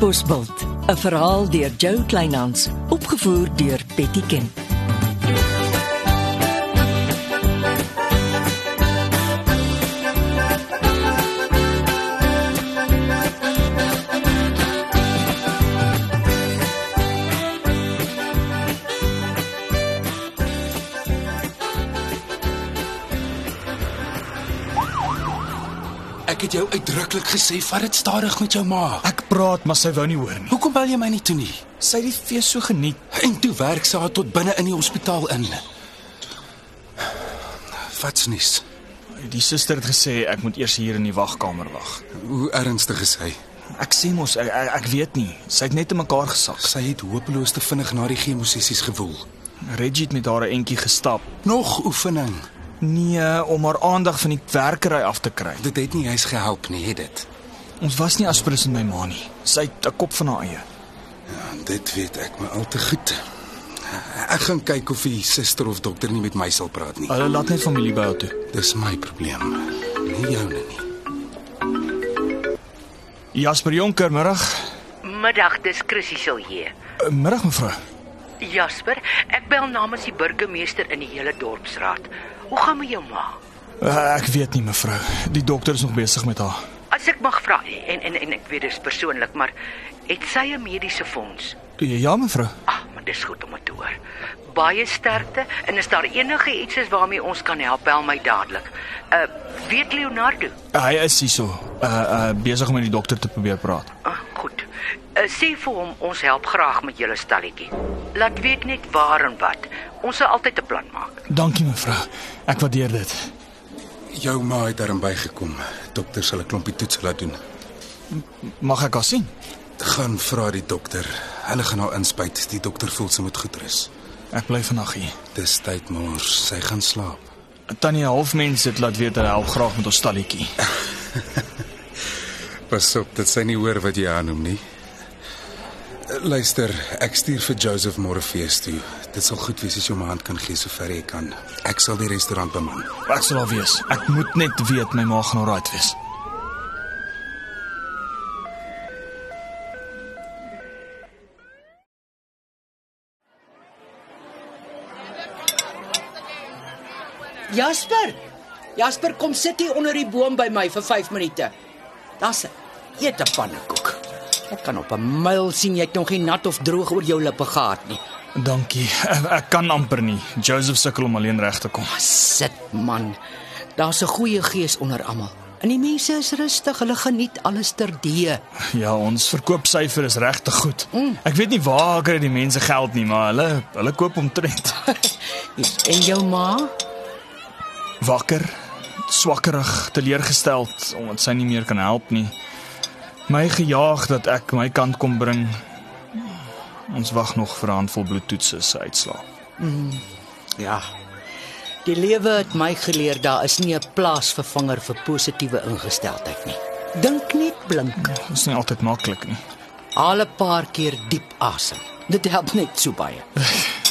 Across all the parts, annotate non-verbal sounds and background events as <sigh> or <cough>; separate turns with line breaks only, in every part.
Bosbult, 'n verhaal deur Jo Kleinhans, opgevoer deur Betty Ken.
Ek het jou uitdruklik gesê vat dit stadig met jou ma.
Ek praat, maar sy wou nie hoor nie.
Hoekom bel jy my nie toe nie?
Sy het die fees so geniet.
En toe werk sy haar tot binne in die hospitaal in. Wat's nuus?
Die suster het gesê ek moet eers hier in die wagkamer wag.
Hoe ernstig is hy?
Ek sê mos ek, ek, ek weet nie. Sy het net in mekaar gesak.
Sy het hopeloos te vinnig na die chemosessies gewoel.
Reggie het met haar 'n entjie gestap.
Nog oefening.
Nee, om haar aandag van die werkery af te kry.
Dit het nie eens gehelp nie, het dit?
Ons was nie aspres in my ma nie. Sy het 'n kop van haar eie.
Ja, dit weet ek maar al te goed. Ek gaan kyk of die suster of dokter nie met my sal praat nie.
Hulle laat net familie by haar toe.
Dis my probleem, nie joune nie.
Jasper Jonker, middag.
Middag, dis Chrissy Silje.
Eh, Middag mevrou.
Jasper, ek bel namens die burgemeester in die hele dorpsraad. Hoe gaan met jou ma?
Eh, Ek weet nie mevrou. Die dokter is nog besig met haar.
As ek mag vra en en en ek weet dis persoonlik, maar het sy 'n mediese fonds?
Ja mevrou.
Ag, maar dis goed om dit te hoor. Baie sterkte en as daar enige iets is waarmee ons kan help, bel my dadelik. Uh weet Leonardo.
Hy is hierso. Uh uh besig om met die dokter te probeer praat.
Ah, goed. Uh, sê vir hom ons help graag met julle stalletjie. Laat weet net waar en wat. Ons sal altyd 'n plan maak.
Dankie mevrou. Ek waardeer dit.
Jou ma het daarin bygekom. Dokter sal 'n klompie toetse laat doen.
Mag ek haar sien?
Gaan vra die dokter. Hulle gaan haar inspuit. Die dokter voel sy moet goed rus.
Ek bly vandag hier.
Dis tyd mors. Sy gaan slaap.
Tannie Halfmens het laat weet hulle help graag met ons stalletjie.
Pas op dat sy nie hoor wat jy haar noem nie. Luister, ek stuur vir Joseph Morfees toe. Dit sal goed wees as jy my hand kan gee sover jy kan. Ek sal die restaurant beman.
Ek sal daar wees. Ek moet net weet my ma gaan alright wees.
Jasper. Jasper kom sit hier onder die boom by my vir 5 minute. Daar's 'n eet 'n pannekoek. Ek kan op 'n myl sien jy het nog nie nat of droog oor jou lippe gehad nie.
Dankie. Ek, ek kan amper nie. Joseph sukkel om alleen reg te kom.
Sit man. Daar's 'n goeie gees onder almal. En die mense is rustig, hulle geniet alles terdee.
Ja, ons verkoopsyfer is regtig goed. Ek weet nie waar kry die mense geld nie, maar hulle hulle koop omtrent.
en jou ma?
Wakker, swakkerig, teleurgesteld omdat sy nie meer kan help nie. My gejaag dat ek my kant kom bring. Ons wag nog vir 'n handvol bloedtoetse se uitslae.
Ja. Die lewe het my geleer daar is nie 'n plaasvervanger vir positiewe ingesteldheid nie. Dink net blink.
Dit is nie altyd maklik nie.
Haal 'n paar keer diep asem. Dit help net so baie.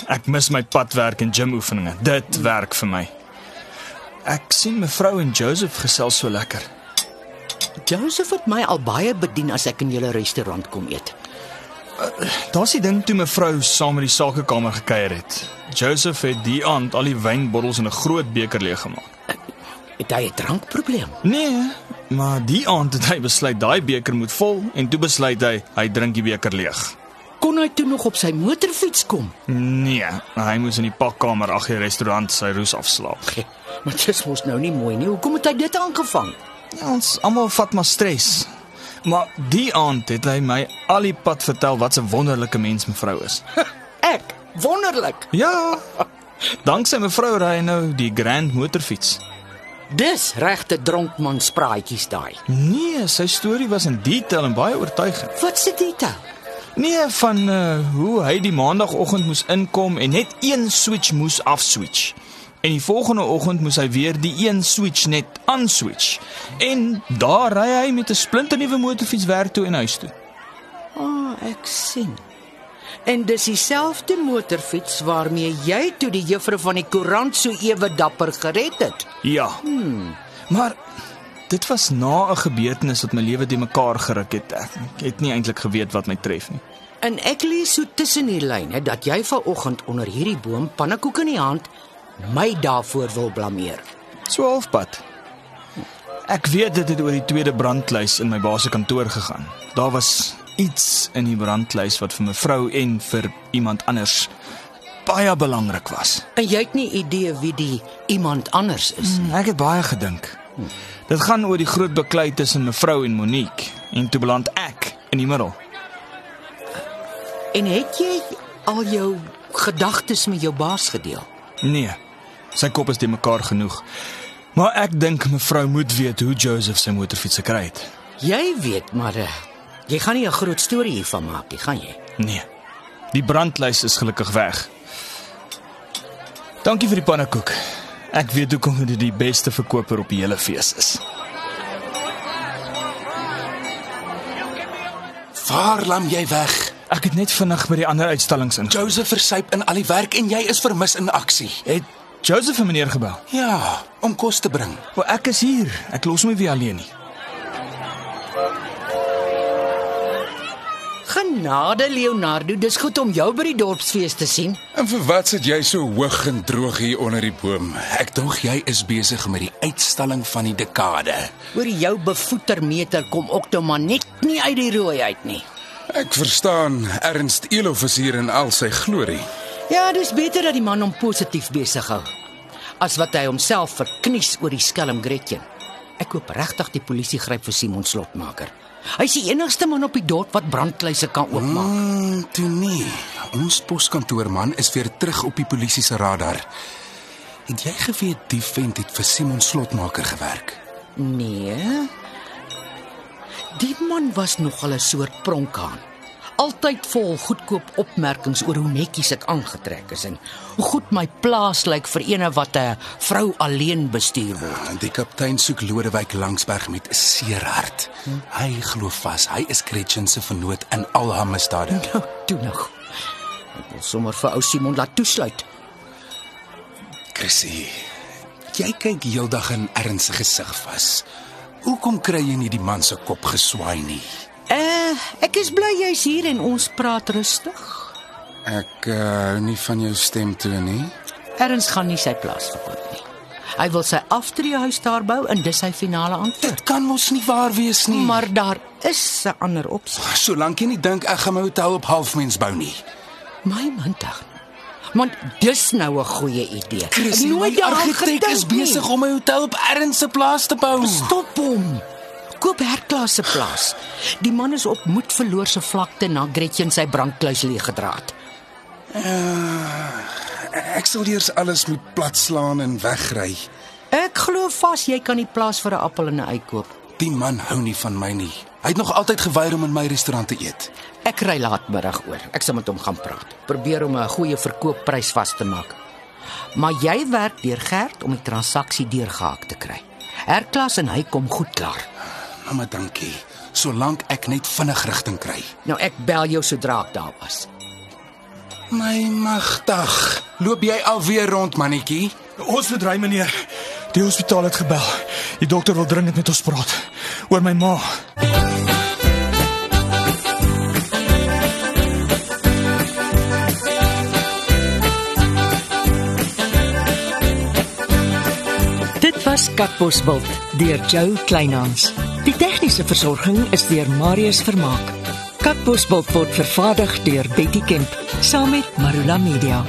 Ek mis my padwerk en gymoefeninge. Dit werk vir my. Ek sien mevrou en Joseph gesels so lekker.
Joseph het my al baie bedien as ek in julle restaurant kom eet.
Daar's die ding toe mevrou saam met die sakekamer gekuier het. Joseph het die aand al die wynbottels in 'n groot beker leeggemaak.
Het hy 'n drankprobleem?
Nee, maar die aand het hy besluit daai beker moet vol en toe besluit hy hy drink die beker leeg.
Kon hy toe nog op sy motorfiets kom?
Nee, hy moes in die pakkamer agter die restaurant sy roes afslaap.
Gek, maar dit was nou nie mooi nie. Hoekom het hy dit aangevang?
Ja, Ons almal vat maar stres. Maar die aand het hy my al die pad vertel wat 'n wonderlike mens mevrou <laughs> is.
Ek, wonderlik.
Ja. Danksy mevrou ry hy nou die Grand motorfiets.
Dis regte dronkmanspraatjies daai.
Nee, sy storie was in detail en baie oortuigend.
Wat se detail?
Nee, van uh, hoe hy die maandagooggend moes inkom en net een switch moes afswitch. En die volgende oggend moes hy weer die een switch net aanswitch. En daar ry hy met 'n splinternuwe motorfiets werk toe en huis toe.
O, oh, ek sien. En dis dieselfde motorfiets waarmee jy toe die juffrou van die koerant so ewe dapper gered het.
Ja. Maar Dit was na 'n gebeurtenis wat my lewe de mekaar geruk het. Ek, ek het nie eintlik geweet wat my tref nie.
En ek lees so tussen die lyne dat jy vanoggend onder hierdie boom pannekoek in die hand my daarvoor wil blameer.
So halfpad. Ek weet dit het oor die tweede brandlys in my baas se kantoor gegaan. Daar was iets in die brandlys wat vir mevrou en vir iemand anders baie belangrik was.
En jy het nie idee wie die iemand anders is.
Hmm, Ek het baie gedink. Dit gaan oor die groot beklei tussen mevrou en Monique en toe beland ek in die middel.
En het jy al jou gedagtes met jou baas gedeel?
Nee. Sy kop is te mekaar genoeg. Maar ek dink mevrou moet weet hoe Joseph sy motorfiets gekry het.
Jy weet maar eh, jy gaan nie 'n groot storie hiervan maak nie, gaan jy?
Nee. Die brandlys is gelukkig weg. Dankie vir die pannekoek. Ek weet hoekom dit die beste verkoper op die hele fees is.
Waar lam jy weg?
Ek het net vinnig by die ander uitstallings in.
Joseph versuip in al die werk en jy is vermis in aksie.
Het Joseph en meneer gebel?
Ja, om kos te bring.
Wel ek is hier. Ek los my weer alleen nie.
Genade Leonardo, dis goed om jou by die dorpsfees te sien.
En vir wat sit jy so hoog en droog hier onder die boom? Ek dink jy is besig met die uitstalling van die dekade.
Oor jou bevoetermeter kom ook nou maar net nie uit die rooi uit nie.
Ek verstaan Ernst Elof is hier in al sy glorie.
Ja, dis beter dat die man hom positief besig hou as wat hy homself verknies oor die skelm Gretchen. Ek hoop regtig die polisie gryp vir Simon Slotmaker. Hy's die enigste man op die dorp wat brandkluise kan oopmaak.
Mm, toe nie. Ons poskantoorman is weer terug op die polisie se radar. Het jy geweet die vent het vir Simon Slotmaker gewerk?
Nee. Die man was nogal 'n soort pronkhaan. Altyd vol goedkoop opmerkings oor hoe netjies ek aangetrek is en hoe goed my plaas lyk vir eene wat 'n vrou alleen bestuur word.
Ah, Die kaptein soek Lodewyk Langsberg met 'n seer hart. Hy glo vas hy is Gretchen se vernoot in al haar misdade.
Nou, toe nog. Ek wil sommer vir ou Simon laat toesluit.
Chrissy, jy kyk heeldag in ernstige gesig vas. Hoekom kry jy nie die man se kop geswaai nie?
Eh, ek is bly jy's hier en ons praat rustig.
Ek uh, hou nie van jou stem toe nie.
Erns gaan nie sy plaas verkoop nie. Hy wil sy aftreehuis daar bou en dis sy finale antwoord.
Dit kan mos nie waar wees nie.
Maar daar is 'n ander opsie.
Solank jy nie dink ek gaan my hotel op halfmens bou nie.
My mandag. Want dis nou 'n goeie idee. Ek het
Chrissy, my
daaraan
argitek
gedink
is
nie.
besig om my hotel op Erns se plaas te bou.
Stop hom. Koop herklaas se plaas. Die man is op moed verloor se vlakte na Gretchen sy brandkluis leeg gedra het.
Ek sal eers alles moet platslaan en wegry.
Ek glo vas jy kan die plaas vir 'n appel en 'n ei koop.
Die man hou nie van my nie. Hy het nog altyd geweier om in my restaurant te eet.
Ek ry laatmiddag oor. Ek sal met hom gaan praat. Probeer om 'n goeie verkoopprys vas te maak. Maar jy werk deur Gert om die transaksie deurgehaak te kry. Herklaas en hy kom goed klaar.
Mamma, dankie. Solank ek net vinnig rigting kry.
Nou ek bel jou sodra ek daar was.
My magtig. Loop jy alweer rond, mannetjie?
Ons bedry meneer. Die hospitaal het gebel. Die dokter wil dringend met ons praat oor my ma.
Dit was Katbosveld deur Jo Kleinhans. Die tegniese versorging is deur Marius Vermaak. Katbosveld word vervaardig deur Betty Kemp saam met Marula Media.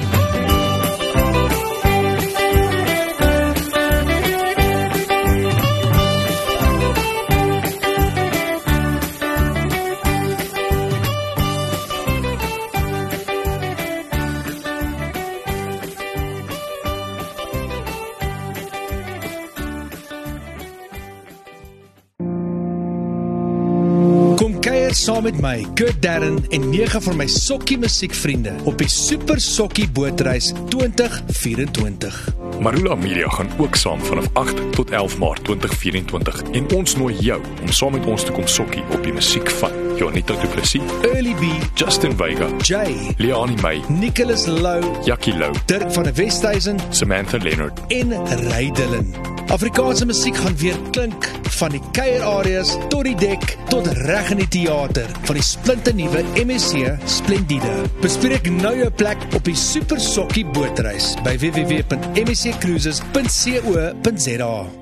Kom kuier saam met my, Kurt Darren en nege van my sokkie musiekvriende op die Super Sokkie Bootreis 2024.
Marula Media gaan ook saam vanaf 8 tot 11 Maart 2024 en ons nooi jou om saam met ons te kom sokkie op die musiek van Jonita Du Plessis,
Early B,
Justin Vega,
Jay,
Leani May,
Nicholas Lou,
Jackie Lou,
Dirk van der Westhuizen
Samantha Leonard
en Ray Dillon. Afrikaanse musiek gaan weer klink, van die kuierareas tot die dek tot reg in die teater van die splinternuwe MSC Splendide. Bespreek nou jou plek op die Super Sokkie bootreis by www.msccruises.co.za.